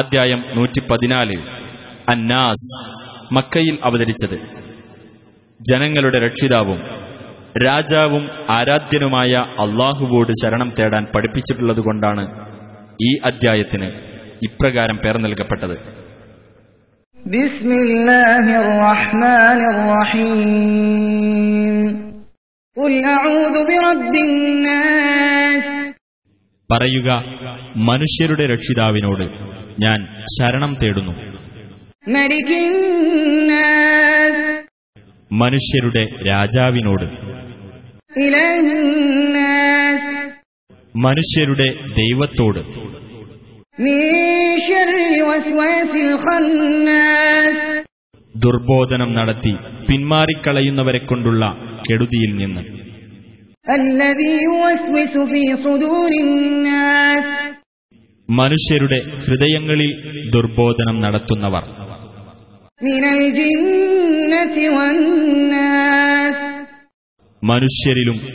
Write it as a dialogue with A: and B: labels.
A: അധ്യായം നൂറ്റി പതിനാല് അന്നാസ് മക്കയിൽ അവതരിച്ചത് ജനങ്ങളുടെ രക്ഷിതാവും രാജാവും ആരാധ്യനുമായ അള്ളാഹുവോട് ശരണം തേടാൻ പഠിപ്പിച്ചിട്ടുള്ളതുകൊണ്ടാണ് ഈ അദ്ധ്യായത്തിന് ഇപ്രകാരം പേർ നൽകപ്പെട്ടത്
B: بسم الله الرحمن الرحيم قل أعوذ برب الناس
A: പറയുക മനുഷ്യരുടെ രക്ഷിതാവിനോട് ഞാൻ ശരണം തേടുന്നു
B: ملك الناس
A: മനുഷ്യരുടെ രാജാവിനോട്
B: إله الناس
A: മനുഷ്യരുടെ ദൈവത്തോട്
B: من شر الوسواس الخناس
A: ദുർബോധനം നടത്തി പിന്മാറിക്കളയുന്നവരെ കൊണ്ടുള്ള കെടുതിയിൽ നിന്ന്
B: الذي يوسوس في صدور الناس
A: മനുഷ്യരുടെ ഹൃദയങ്ങളിൽ ദുർബോധനം നടത്തുന്നവർ
B: من الجنة والناس
A: മനുഷ്യരിലും